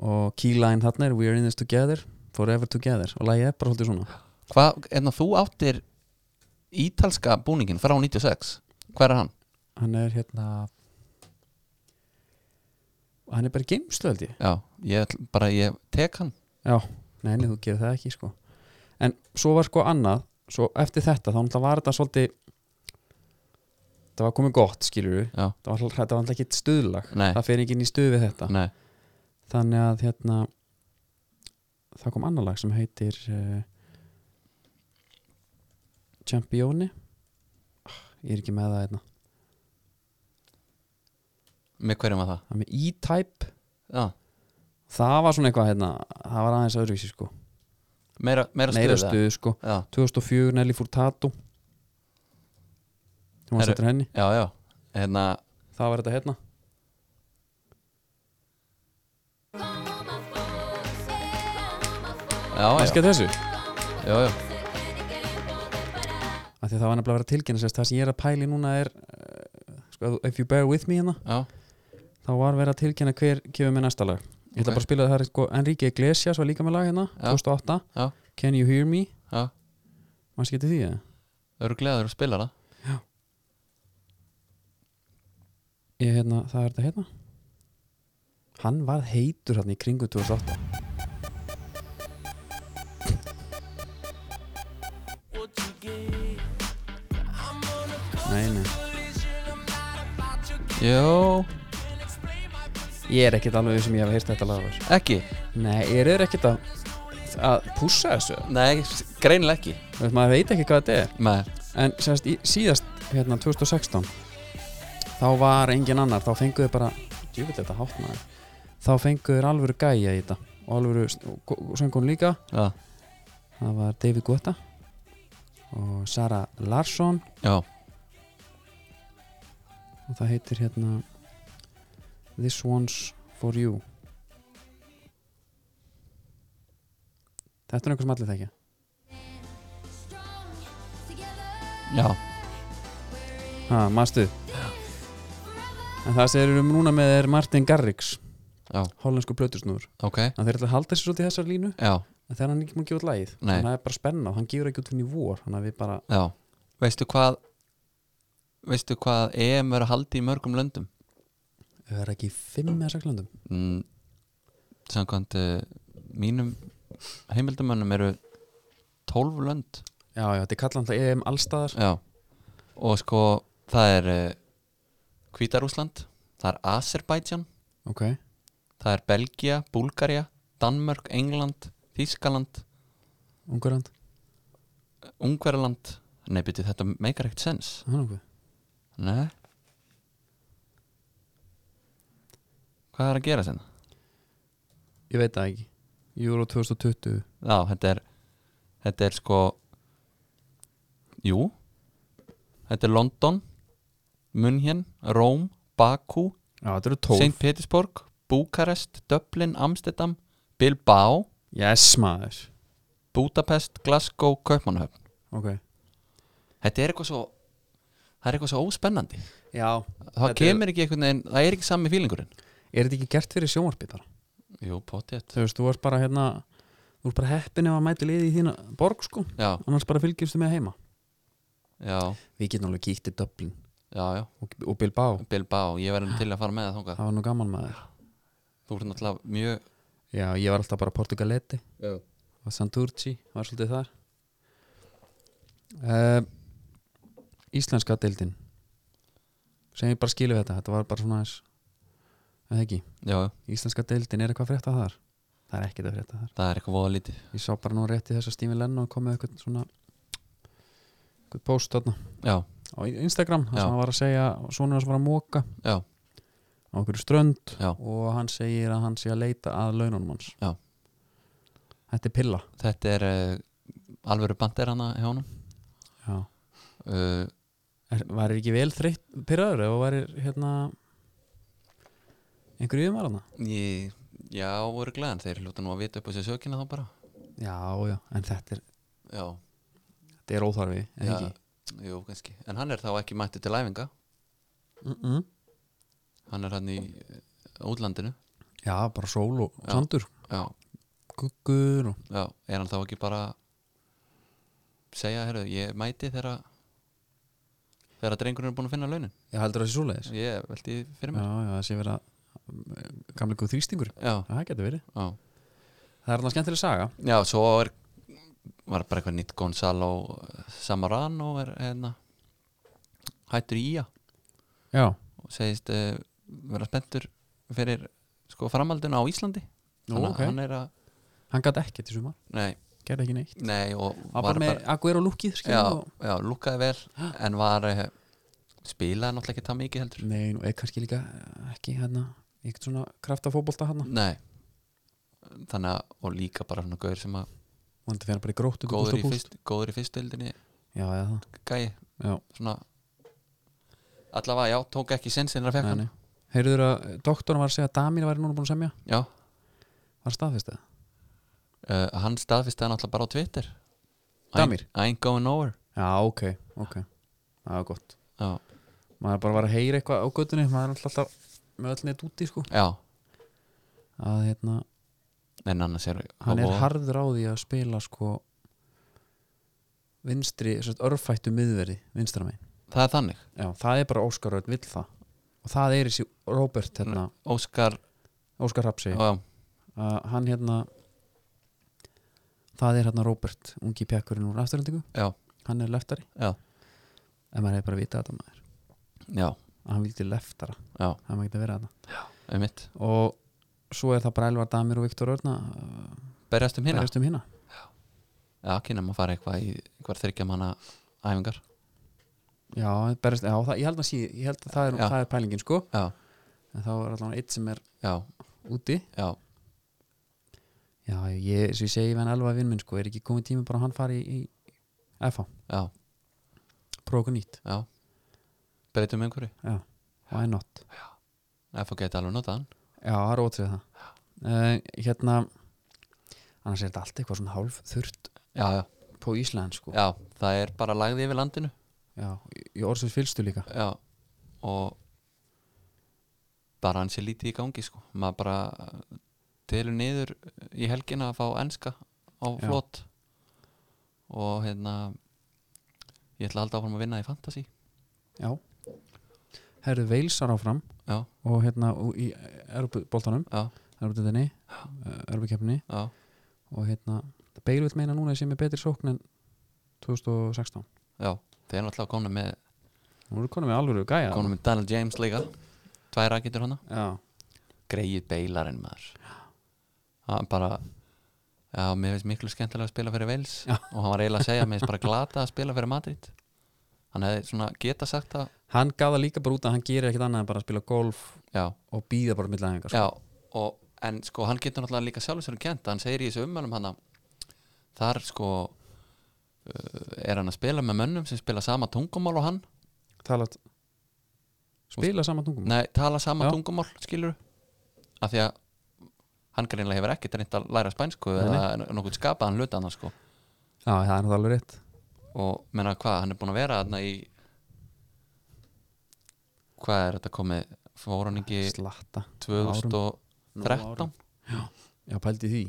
og keyline þarna er We Are In This Together Forever Together og lagið er bara svolítið svona hvað, en þú áttir ítalska búningin frá 96 Hver er hann? hann er hérna hann er bara í geimslu held ég Já, ég ætl- bara, ég tek hann Nei, nei, þú gerir það ekki sko En svo var sko annað Svo eftir þetta, þá náttúrulega var þetta svolítið Það var komið gott, skilur við Já. Það var þetta var alltaf ekki stuðlag Nei. Það fer ekki inn í stuð við þetta Nei, Þannig að hérna Það kom annað lag sem heitir uh, Championi Ah, Ég er ekki með það hérna með hverjum að það? Það er með E-Type Já, Það var svona eitthvað hérna Það var aðeins öðruvísi sko meira, meira stuð Meira eða? stuð sko Já, 2004 Nelly Furtado Þú varst Herru. eftir henni já, já, hérna Það var þetta hérna Já, já, Æskja þessu já, já, Af því að Það var nefnilega að vera tilkynna sérst Það sem ég er að pæli núna er uh, sko, ef þú- If you bear with me hérna já, Þá var verið að tilkynna hver kemur með næsta lag Ég ætla Ok. bara að spila það sko, Enrique Iglesias var líka með lag hérna Já. 2008 Já. Can you hear me já Mannst getið því eða? Örglegaður að spila það Ég hérna Það er þetta hérna Hann var heitur hérna í kringu 2008 Nei, nei Jó, Ég er ekkert alveg sem ég hef heyrt þetta lag áður. ekki Nei, ég er ekkert að, að pússa þessu Nei, s- greinilega ekki Þú veist, maður veit ekki hvað þetta er Nei, En semst, í, síðast, hérna, 2016 Þá var engin annar Þá fenguðu bara, djúfitt þetta hátt maður Þá fenguðu alvöru gæja í þetta Og alvöru söngun líka já, Það var David Guetta Og Sara Larsson já, Og það heitir hérna This one's for you Þetta er einhver sem allir þekki já Ha, mastu En það sem erum núna með er Martin Garrix Já. Hollensku plötusnúður Ok, Hann þeir ætla að halda sér svolítið í þessar línu já, En þegar hann er ekki múin að gefa út lagið Nei. Þannig að það er bara spenna Hann gefur ekki út henni í vor Þannig að við bara já Veistu hvað Veistu hvað EM er að haldi í mörgum löndum? Það er ekki fimm eða sex löndum mm, samkvæmt uh, mínum heimildamönnum eru 12 lönd Já, já, þetta er E kallan það EM allstaðar já. og sko það er uh, Hvítarúsland það er Azerbaijan Ok það er Belgia, Búlgaria Danmörk, England, Þískaland Ungurland Ungverland nei byrju þetta meikar ekkert sens Það er nokkuð nei hvað er að gera sinna? Ég veit það ekki Euro 2020 Já, þetta er þetta er sko Jú Þetta er London München, Róm, Bakú Já, þetta eru St. Petersburg, Búkarest Dublin, Amsterdam, Bilbao Yes, maður Budapest, Glasgow, Kaupmannhöfn Ok Þetta er eitthvað svo það er eitthvað svo óspennandi Já það Þetta er- kemur ekki einhvern veginn, það er ekki sami fílingurinn Er þetta ekki gert fyrir sjónvarpið bara? Jú, potið Þú veist, þú varst bara hérna Þú ert bara heppin ef að mæti liði í þína borg sko Já, annars bara fylgjustu með heima já, við getum alveg kíkt í Dublin já, já og, og Bilbao, Bilbao, ég verðum til að fara með það þangað það var nú gaman maður Þú ert náttúrulega mjög já, ég var alltaf bara Portugaletti Já, og Santurci, var svolítið þar uh, Íslenska deildin sem ég bara skilu þetta þetta var bara svona þess eða ekki, já Íslenska deildin er eitthvað að frétta þar það er ekkert að frétta þar það er eitthvað voða lítið ég sá bara nú rétt í þess að Stími Lenn og komið eitthvað svona eitthvað post þarna Já, á Instagram, það Já. sem hann var að segja svona sem var að móka Já. á einhverju strönd Já. og hann segir að hann sé að leita að laununum hans Já. Þetta er pilla þetta er uh, alvöru banderana hjá honum Já. uh, Er- Værir ekki vel þreytt pyrraður ef þú værir hérna einhverju yfirmaður hana? ég, já, voru glæðan þeir hljóta nú að vita upp á sér sökina þá bara Já, já, en þetta er, já, þetta er óþarfi já, eða ekki? jú, kannski en hann er þá ekki mættu til læfinga Mm -mm. hann er hann í eh, útlandinu Já, bara sól og Já. sandur já, guggur og já, er hann þá ekki bara að segja, herru, ég mæti þegar þegar drengurinn er búin að finna launin ég heldur það sé svoleiðis ég velti Já, fyrir mér já, það sé verið að gamlegu þrýstingur, já, það getur verið já, Það er hann skemmtileg saga já, svo er var bara eitthvað nýtt Gonzalo Samarano er hérna hættur í ía Já, og segist uh, vera spenntur fyrir sko framhaldinu á Íslandi Nú, Þannig að ok. hann er að, hann gat ekkert í sumar, nei, gerði ekki neitt nei og Það bara með Aguero lúkið já, skilur, og... já, lúkkaði vel en var uh, spilaði náttúrulega ekki það mikið heldur Nei, nú er kannski líka eh, ekki hérna, ekkert svona krafta fótbolta hérna nei þannig að, og líka bara svona gaur sem að Vandi fyrir bara í gróttu góður búst og í, búst. fyrst, góður í fyrstöldinni Já, eða það gæi, Já, svona allavega, já, tók ekki sensin að fekk nei, hann nei Heyrður að eh, doktorinn var að segja að Damir væri núna búin að semja já, Var staðfist það? uh, hann staðfist það náttúrulega bara á Twitter I- Damir? I ain't going nowhere Já, ok, ok Það var gott já, Maður bara var að heyra eitthvað á göttunni Maður er alltaf með öll neitt úti sko já, Að hérna, en annars er hann er og- harður á því að spila sko vinstri, sem sagt, örfættu miðverði vinstra megin, það er þannig já, það er bara Óskar Örn vill það og það er þessi Róbert hérna, Óskar Óskar Hapsi já, uh, hann hérna það er hérna Róbert, ungi pjakkurinn úr afturhendingu, já, hann er leftari já, en maður hefði bara vitað þetta maður já, að hann vildi leftara, já, það maður getið að vera þetta einmitt og svo er það bara Elvar Damir og Viktor Örna uh, berjast um hérna, berjast um hérna já, kynum að fara eitthvað í eitthvað þryggja manna æfingar já, berjast, já það, ég, held að sí, ég held að það er, Já. það er pælingin sko já, en þá er allavega eitt sem er já, úti já, Já, ég, sem ég segi við hann alveg að vinn minn sko, er ekki komið tími bara að hann fari í, í FH, já, prófa okkur nýtt já breytum einhverju, Já, why not? ef þú geti alveg notað hann Já, það er ótrúið það uh, Hérna annars er þetta allt eitthvað svona hálf þurrt já, já, på Ísland sko já, það er bara lagði yfir landinu Já, í, í orðsins fylstu líka já, og bara hann sé lítið í gangi sko, maður bara uh, telur niður í helgina að fá enska á Já. flott og hérna ég ætla alltaf áfram að vinna í fantasy Já Herðu Veilsar áfram já, og hérna og í Erbuboltanum, já, Erbudetinni Erbukeppni já, eh, og hérna Bale vill meina núna sem er betri sókn en 2016 já þeir eru náttúrulega komin með, Nú eru konum við alvöru gæja komin með Daniel James líka tvær rakitur hana Já, greið beilarinn maður hann bara já, mér finnst miklu skemmtilega að spila fyrir Vels Já. og hann var eiginlega að segja, mér finnst bara glata að spila fyrir Madrid hann hefði svona geta sagt það hann gaf það líka bara út að hann gerir ekkert annað en bara að spila golf já, og býða bara sko. millæðingar já og, en sko hann getur náttúrulega líka sjálfur sér um kent hann segir í þessu ummælum hann þar sko uh, er hann að spila með mönnum sem spila sama tungumál og hann talat spila sama tungum nei, tala sama Mm. Já. tungumál skilur af því að hann greinlega hefur ekkert reynt að læra spænsku Nei, eða nokkuð skapaðan hluta annars sko já það er það alveg rétt og menna hvað, hann er búin að vera þarna í hvað er þetta komið fór hann ekki slatta 2013 Nóg já pældi því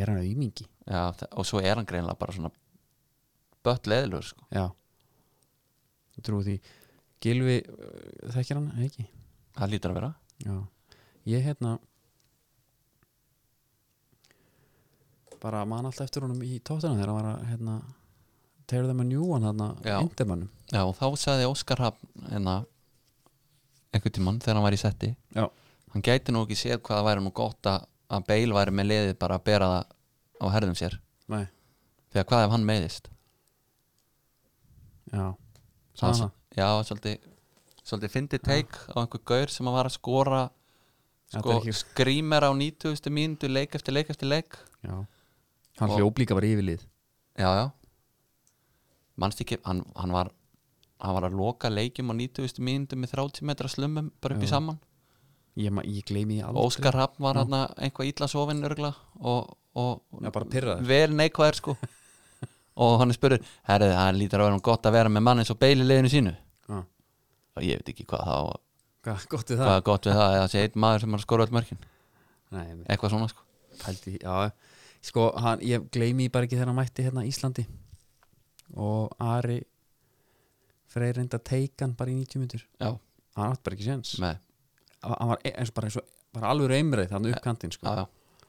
er hann auðmingi já, þa- og svo er hann greinlega bara svona bött leðilur sko já Ég trúi því Gilvi uh, þekkir hann Nei, ekki það lítur að vera já ég hérna bara man alltaf eftir honum í tóttunum þegar hann var að hérna tegur þeim að njúan hann Já. endemannum já, og þá sagði Óskar Hafn hérna einhvern tímann þegar hann var í setti Já. hann gæti nú ekki séð hvað það væri nú gott að, að Bale væri með liðið bara að bera það á herðum sér nei þegar hvað ef hann meiðist já sagði hann það já, svolítið svolítið fyndi teik á einhver gaur sem að var að skora Þetta sko, er ekki- skrýmer á 90. mínútu leik eftir leik eftir leik já. hann Og- hljóp líka bara yfirlið já, já mannst ekki, hann, hann var hann var að loka leikjum á 90. mínútu með 30 metra slumum bara upp í Já. saman ég, ma- ég gleymi því og aldrei Óskar Rapp var hann einhvað illa sofin örgla og, og Já, bara pirraður. vel neikvæður [laughs] sko og hann er spurður, herrið, hann lítur að vera gott að vera með mann eins og beili liðinu sínu Já. og ég veit ekki hvað það var Hvað, gott við hvað það er gott við það að það sé einn maður sem er að skora öll mörkin Nei, einmitt. eitthvað svona sko pældi, já, sko, hann, ég gleymi bara ekki þegar hann mætti hérna Íslandi og Ari Freyr reynda teikan bara í 90 myndur já, hann átti bara ekki séns með, hann hann var e- eins og bara, eins og, bara alveg reymreið þannig upp kantinn já, sko. já,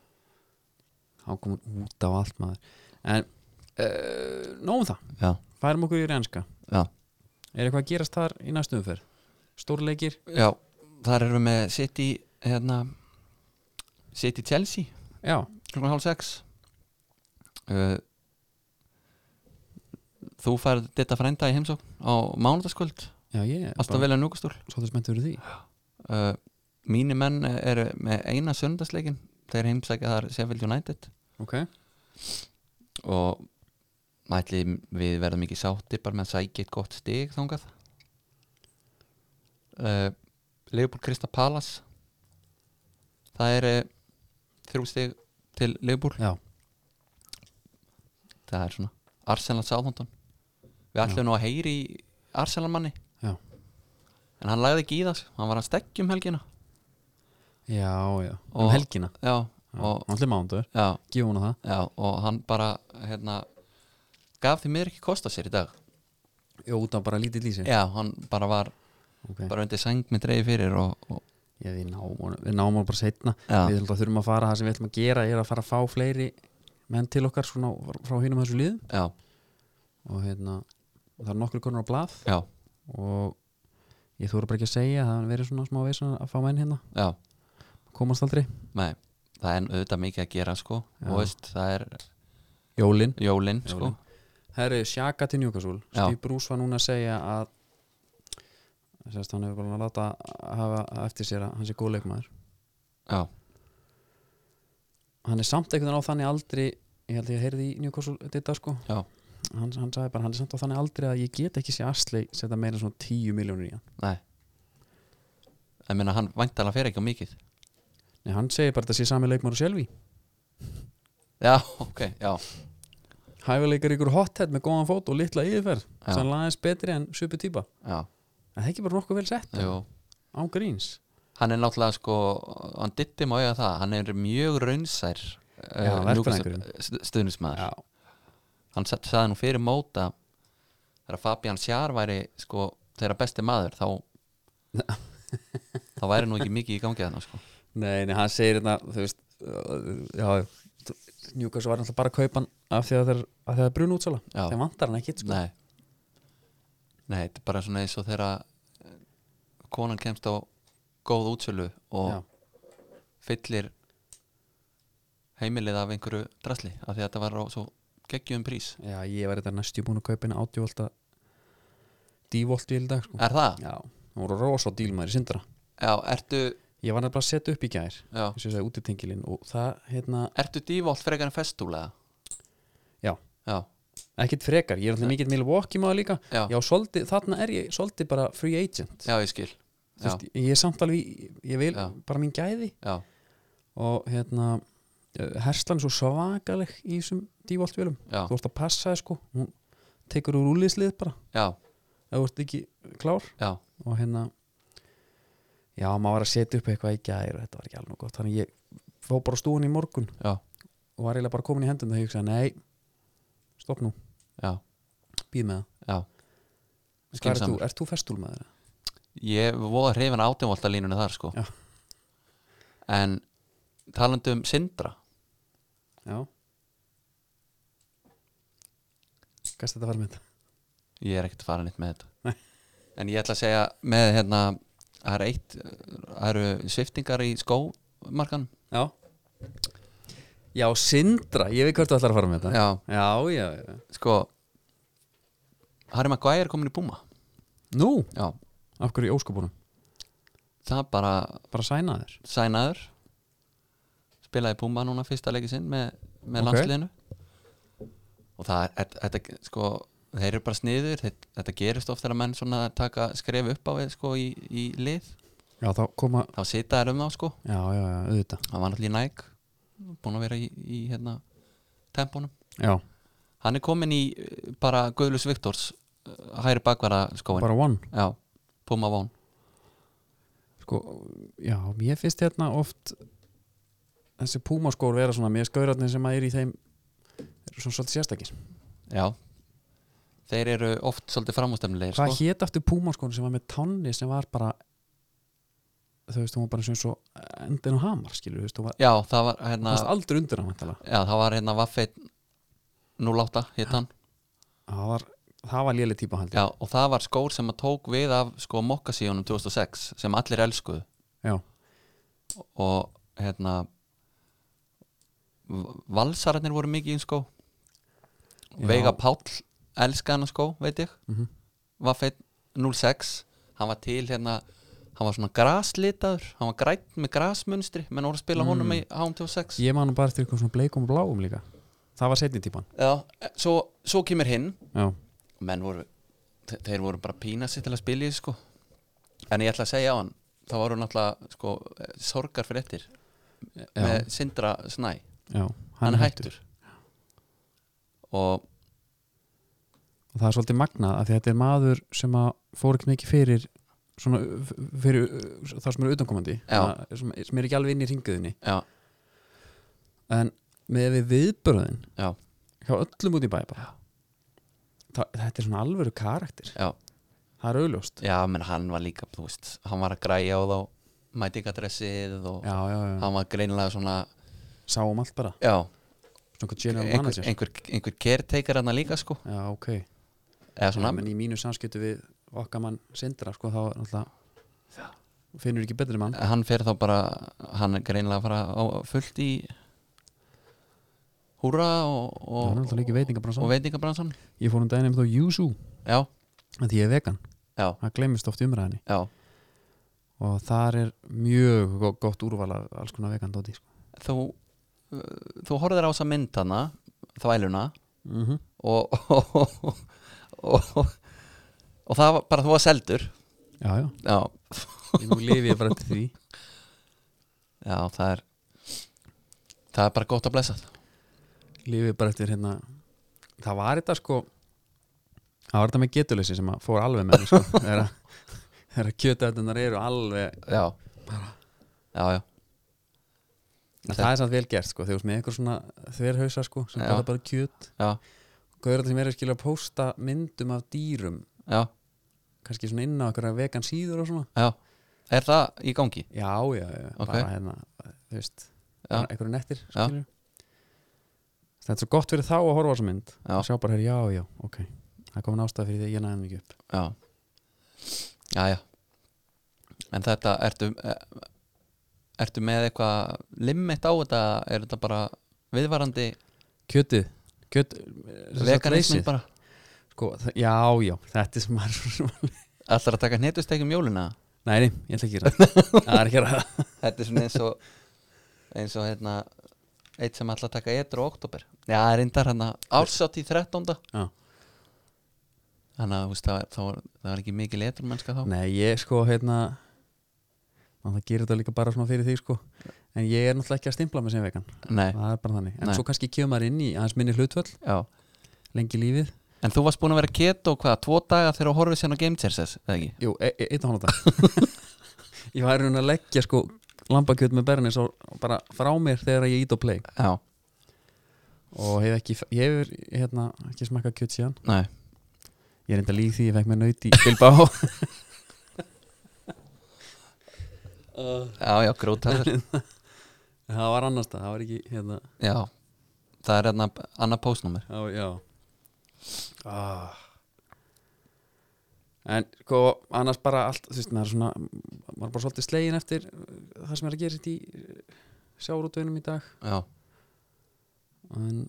hann kom hún út á allt maður en uh, nógum það, já, færum okkur í reynska já. er eitthvað að gerast þar í næstu umferð stórleikir, já þar erum við með City hérna, City Chelsea já, klukkan hálf sex uh, þú færð ditta frænda í heimsókn á mánudagskvöld já ég er alltaf bara velja núkastúl svolítið spenntur fyrir því uh, mínir menn eru með eina söndagsleikin þeir heimsækja þar Sheffield United ok, og ætli við verðum ekki sáttir bara með að sækja eitt gott stig þangað uh, Leopold Krista Palace það er uh, þrjú stig til Leopold já, það er svona Arsenal Southampton við ætlum nú að heyri í Arsenal manni Já. en hann lagði ekki í það hann var að stekja um helgina já, já um Og- helgina, já, og, allir mándur já, gefum hún að það, já, og hann bara hérna, gaf því miður ekki kosta sér í dag já, út af bara lítið lýsi já, hann bara var okay. bara undir sæng með dreigi fyrir og, og Já, við náum honum, við náum honum bara setna Já. Við náttúrulega þurfum að fara, það sem við ætlum að gera er að fara að fá fleiri menn til okkar svona frá hinum þessu liðum já, og hérna, og það er nokkur konur á blað já, og ég þóra bara ekki að segja það verið svona smá veist að fá menn hérna já komast aldrei nei, það er auðvitað mikið að gera sko Já. og veist, það er Jólin jólin sko Herri, sjaka til Newcastle Já. Steve Bruce var núna að segja að sérst hann hefur bara að láta hafa eftir sér að hann sé góð leikmaður já, hann er samt einhvern veginn á þannig aldri ég held ég að heyrði í Newcastle þetta sko já, hann, hann sagði bara, hann er samt á þannig aldrei að ég get ekki sé Asli setja meira en svona 10 miljónir í hann nei ég meina hann væntalega fyrir ekki á mikið Nei, hann segir bara þetta sé sami leikmar og sjálfi já, [laughs] ok, já, hæfileikar ykkur hothead með góðan fót og litla yfirferð Já. sem aðeins betri en supi týpa já, en það er ekki bara nokkuð vel sett jú án gríns hann er náttúrulega sko hann ditti má eiga það, hann er mjög raunsær eh, Já, verkfræðingurinn. Newcastle- stu- stuðningsmaður já, hann sa- sagði nú fyrir móta þegar Fabian Sjár væri sko þeirra besti maður þá þá væri nú ekki mikið í gangi þarna sko nei, nei, hann segir þetta þú veist, uh, já Newcastle var náttúrulega bara að kaupa hann af því að það er, að það er brun útsala Já. þegar vantar hann ekki sko. nei nei, þetta er bara svona eins og þegar eh, konan kemst á góð útsölu og Já. fyllir heimilið af einhverju drasli af því að þetta var á svo geggjum prís já, ég var þetta næstu búin að kaupa henni átjúvolta dívoltu í dag sko. er það? já, hún voru rosa dílmaður í syndra Já, ertu Ég var nefnilega að setja upp í gær já, eins og ég sagði út í tengilinn og það hérna, ertu dívolt frekar en festúlega? já, Já, ekkert frekar ég er alltaf mikill Milwaukee maður líka Já. svolítið, þarna er ég svolítið bara free agent já, ég skil Þú Já, veist, ég er samt alveg, í- ég vil Já. bara mín gæði já, og hérna eh, herslan er svo svakaleg í þessum dívoltvélum, já, þú ert að passa þér, sko, hún tekur úr úliðslið bara já, ef þú ert ekki klár já, og hérna já, maður var að setja upp eitthvað í gær og þetta var ekki alveg nógu gott, þannig ég fó bara stúin í morgun já, og var eiginlega bara komin í hendun þegar ég hugsaði, nei, stopp nú já, býð með það já. Hvað ert þú, Skynsamur. ert þú festúlmaður? eða? Ég voða hrifin átjumvolta línunni þar sko Já. En talandi um Sindra Já Gæst þetta var með þetta? Ég er ekkert að fara nýtt með þetta En ég ætla að segja með hérna Það er eitt, það eru sviftingar í skómarkan Já Já, Sindra, ég veit hvert þú ætlar að fara með þetta Já, já, já, já. sko Harry Maguire er komin í búma Nú, Já, Af hverju í óskupunum? það bara Bara sæna þér sænaður spilaði Puma núna fyrsta leiki sinn með, með Ok. landsliðinu og það er, er, þetta, sko þeir eru bara sniður, þetta, þetta gerist oft þegar menn svona taka skref upp á við sko í, í lið, Já, þá koma þá sita þær um þá sko Já, já, já, auðvitað hann var náttúrulega í næk búin að vera í, í hérna tempónum, Já, hann er komin í eh, bara Guðlus Viktors eh, hægri bakvara skóin, bara one já Puma Vón, Sko, já, mér finnst hérna oft þessi púmaskór vera svona mér skaurarnir sem að er í þeim eru svona svolítið sérstakir já þeir eru oft svolítið framústemnilegir Hvað sko. hét aftur púmaskór sem var með tanni sem var bara þau veist, hún var bara eins og- eins og endin og hamar skilur, þú veist, hún var já, það var Na, hérna aldrei undir hann væntanlega. Já, það var hérna Vaffeit 08 hitt hann það var, það var léli típa held ég Já, og það var skór sem að tók við af sko mokkasíunum 2006 sem allir elskuðu Já, og hérna v- Valsararnir voru mikið í skó Já. Veiga Páll elskaði hann skó, veit ég Mhm. Vaffeit 06 hann var til hérna hann var svona graslitaður, hann var grætt með grasmunstri menn voru að spila honum í HM26 Mm. ég man nú bara eftir eitthvað svona bleikum og bláum líka það var setni típan Já, svo, svo kemur hinn Já, menn voru þe- þeir voru bara að pína sér til að spila í þessu, sko en ég ætla að segja á hann það voru náttúrulega sko sorgar fyrir ettir með Sindra Snæ hann, já, er hættur og og það er svolítið magnað af því að þetta er maður sem að fór ekki mikið fyrir svona, f- fyrir uh, þá sem eru utankomandi Já. að- sem, sem er ekki alveg inn í ringuðinni já, en með við viðbröðin já, hjá öllum út í bæ bara Þa, þetta er svona alvöru karakter já það er augljóst já, menn hann var líka, þú veist hann var að græja á þá mætingadressið og já, já, já, hann var greinilega svona sáum allt bara já, svona hvað general einhver, manager einhver, einhver caretaker hann líka sko já, ok eða svona, svona, en í mínu samskiptu við okkar mann sindra sko þá er náttúrulega finnur ekki betri mann hann fer þá bara hann er greinilega að fara á, fullt í húra og, það er og, náttúrulega ekki og veitingabransan veitingabransan ég fór um daginn um þá Júsú já, að því ég er vegan já, það glemist oft í umræðinni já og þar er mjög go- gott úrval af alls konar vegan dóti sko. þú, uh, þú horfðir á þessa mynd hana þvæluna mm og og, og, og, og það var bara þú var seldur já, já, já, ég nú lifi ég bara til því já, það er það er bara gott að blessa það lifi bara eftir hérna það var þetta sko það var þetta með getuleysi sem að fór alveg með mig, [laughs] sko. þegar að- þegar að kjötaðunar eru alveg já, já, já, en það er samt vel gert sko þegar þú ert með eitthvað svona þverhausa sko sem Já. bara bara kjöt já, gauður þetta sem er að skilja að pósta myndum af dýrum já, kannski svona inn á eitthvað vegan síður og svona já. er það í gangi? já, já, já, Ok. bara hérna þú veist já, bara einhverju nettir Já. skilurðu. þetta er svo gott fyrir þá að horfa á þessa mynd Já. og sjá bara, herri, já, já, ok það er komin ástæða fyrir því að ég næði hann ekki upp Já Já, já En þetta, ertu eh, Ertu með eitthvað limit á þetta Er þetta bara viðvarandi kjötið, kjöt Veganismin bara sko, það- já, já, þetta er sem maður [laughs] svo sem Ætlar að taka hnetustekjum jólina nei, nei, ég ætla ekki að gera það það er ekki að ræða Þetta er svona eins og Eins og hérna Eitt sem ætlar að taka etru á oktober Já, það er reyndar hérna Ársátt í 13. Já. Þannig að þú veist, það, var- það, var, það var ekki mikil etru mennska þá nei, ég sko, hérna maður það gerir þetta líka bara svona fyrir því, sko en ég er náttúrulega ekki að stimpla mig sem vegan Nei, það er bara þannig, en Nei. svo kannski kemur maður inn í aðeins minni hlutvöll, já lengi lífið En þú varst búin að vera keto hvað, tvo daga þegar þú horfið sérna Game Chasers, eða ekki? Jú, e e- einn og hálfan dag Ég var í raun að leggja sko lambakjöt með bernis og og bara frá mér þegar ég ít og play Já, og hef ekki, ég hefur hérna, ekki smakka kjöt síðan nei Ég er enda líð því ég fekk mér naut í Bilbao Já, já, Uh, grótarður hérna. Það var annars það, það var ekki hérna, [laughs] Já, það er hérna annað póstnúmer á, já ah. En sko, annars bara allt, þú veist, maður er svona maður er bara svolítið slegin eftir uh, það sem er að gera þetta í sjárútveginum í dag Já, en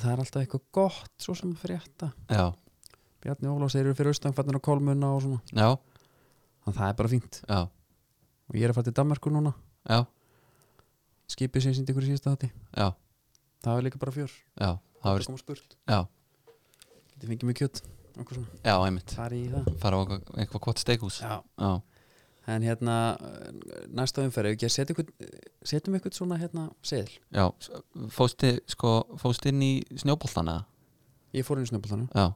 það er alltaf eitthvað gott svo sem að frétta já, Bjarni Ólafs þeir eru fyrir austan fannir á kolmunna og svona já, Þannig að það er bara fínt já, og ég er að fara til Danmarku núna já, skipið sem ég sýndi ykkur í síðasta þátti já, það er líka bara fjör já það verður, koma spurt já, getið fengið mjög kjött okkur svona já, einmitt það er í það fara á eitthvað- eitthvað kvot steikhús já já, en hérna eh, næsta umferð ef ekki að setja ykkur setjum ykkur svona hérna seðil já, fósti sko, fósti inn í snjóboltana ég fór inn í snöpultanum já,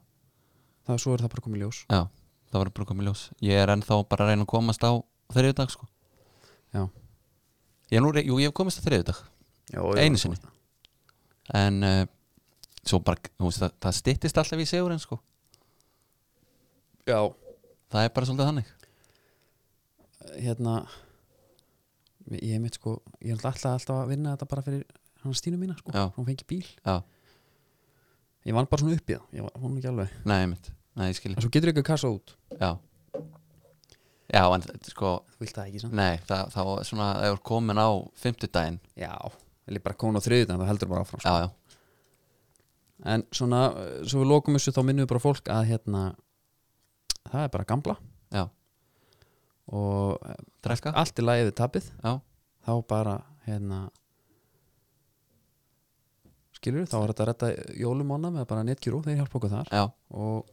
það svo er það bara komið í ljós já, það verður bara komið í ljós ég er ennþá bara að reyna að komast á þriðjudag sko Já. ég er nú, re- jú, ég hef komist á þriðjudag já, já, Einu sinni. en uh, svo bara, þú veist, það, það styttist alltaf í segurinn sko já það er bara svolítið þannig hérna ég hef mitt sko ég er náttúrulega alltaf, alltaf að vinna þetta bara fyrir hann Stínu mína sko Já. hún fengi bíl Já. ég vann bara svona upp í það ég vann ekki alveg nei, einmitt, nei, ég skil en svo getur ykkur kassa út já, já, en þetta, sko þú vilt það ekki sann nei, það, þá er svona, það er komin á fimmtudaginn, já eða bara konu á þriðutan það heldur bara áfram sko. já, já, en svona eh, svo við lokum þessu þá minnum við bara fólk að hérna það er bara gamla já og eh, drekka, allt er lagið við tapið já, þá bara hérna skilur þá er þetta að retta jólumónna með bara netgjúrú þeir hjálpa okkur þar já, og,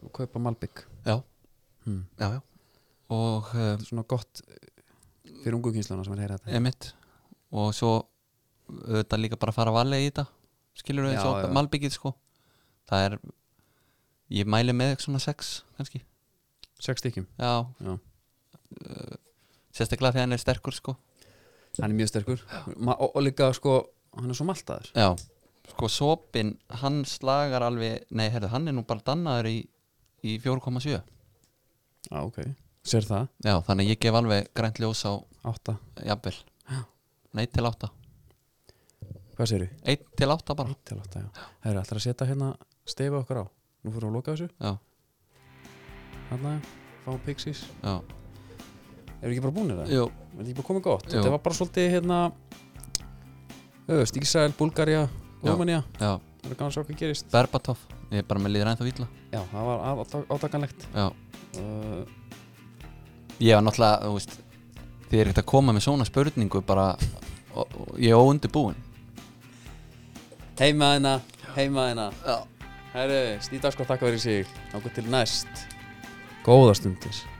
og kaupa Malbygg já hmm. já, já og uh, þetta er svona gott eh, fyrir ungu kynsluna sem er að heyra þetta emitt og svo auðvitað líka bara að fara valega í þetta skilur Já, við svo já. malbyggið sko það er ég mæli með svona sex kannski sex stykkjum, já, Já. Uh, sérstaklega þegar hann er sterkur sko hann er mjög sterkur Ma, og, og líka sko, hann er svo maltaður já, sko sopin hann slagar alveg, nei herðu hann er nú bara dannaður í, í 4,7 já já, Ah, ok, sér það, þannig að ég gef alveg grænt ljós á átta jafnvel, nei til 8 hvað séru? 1 til 8 bara, Eitt til átta, já. Það eru alltaf að setja hérna stefa okkar á. Nú fyrir að loka þessu, já, hérna, fáum Pixies. já, Erum við ekki bara búinir það? jú Er þetta ekki bara komið gott? Jú. Þetta var bara svolítið hérna, öðvist, Ísrael, Búlgaria, Já. Rúmania. já, Það er gaman að sjá hvað gerist. Berbatov, ég er bara með líður ennþá ítla Já, það var át- átakanlegt. Já, Uh, ég var náttúrulega, þú veist Þið er ekkert að koma með svona spurningu bara, og, og, ég er óundibúin heima hérna, heima hérna. Já Herru, snýta sko takk fyrir sig. Nákvæm til næst. Góða stundir.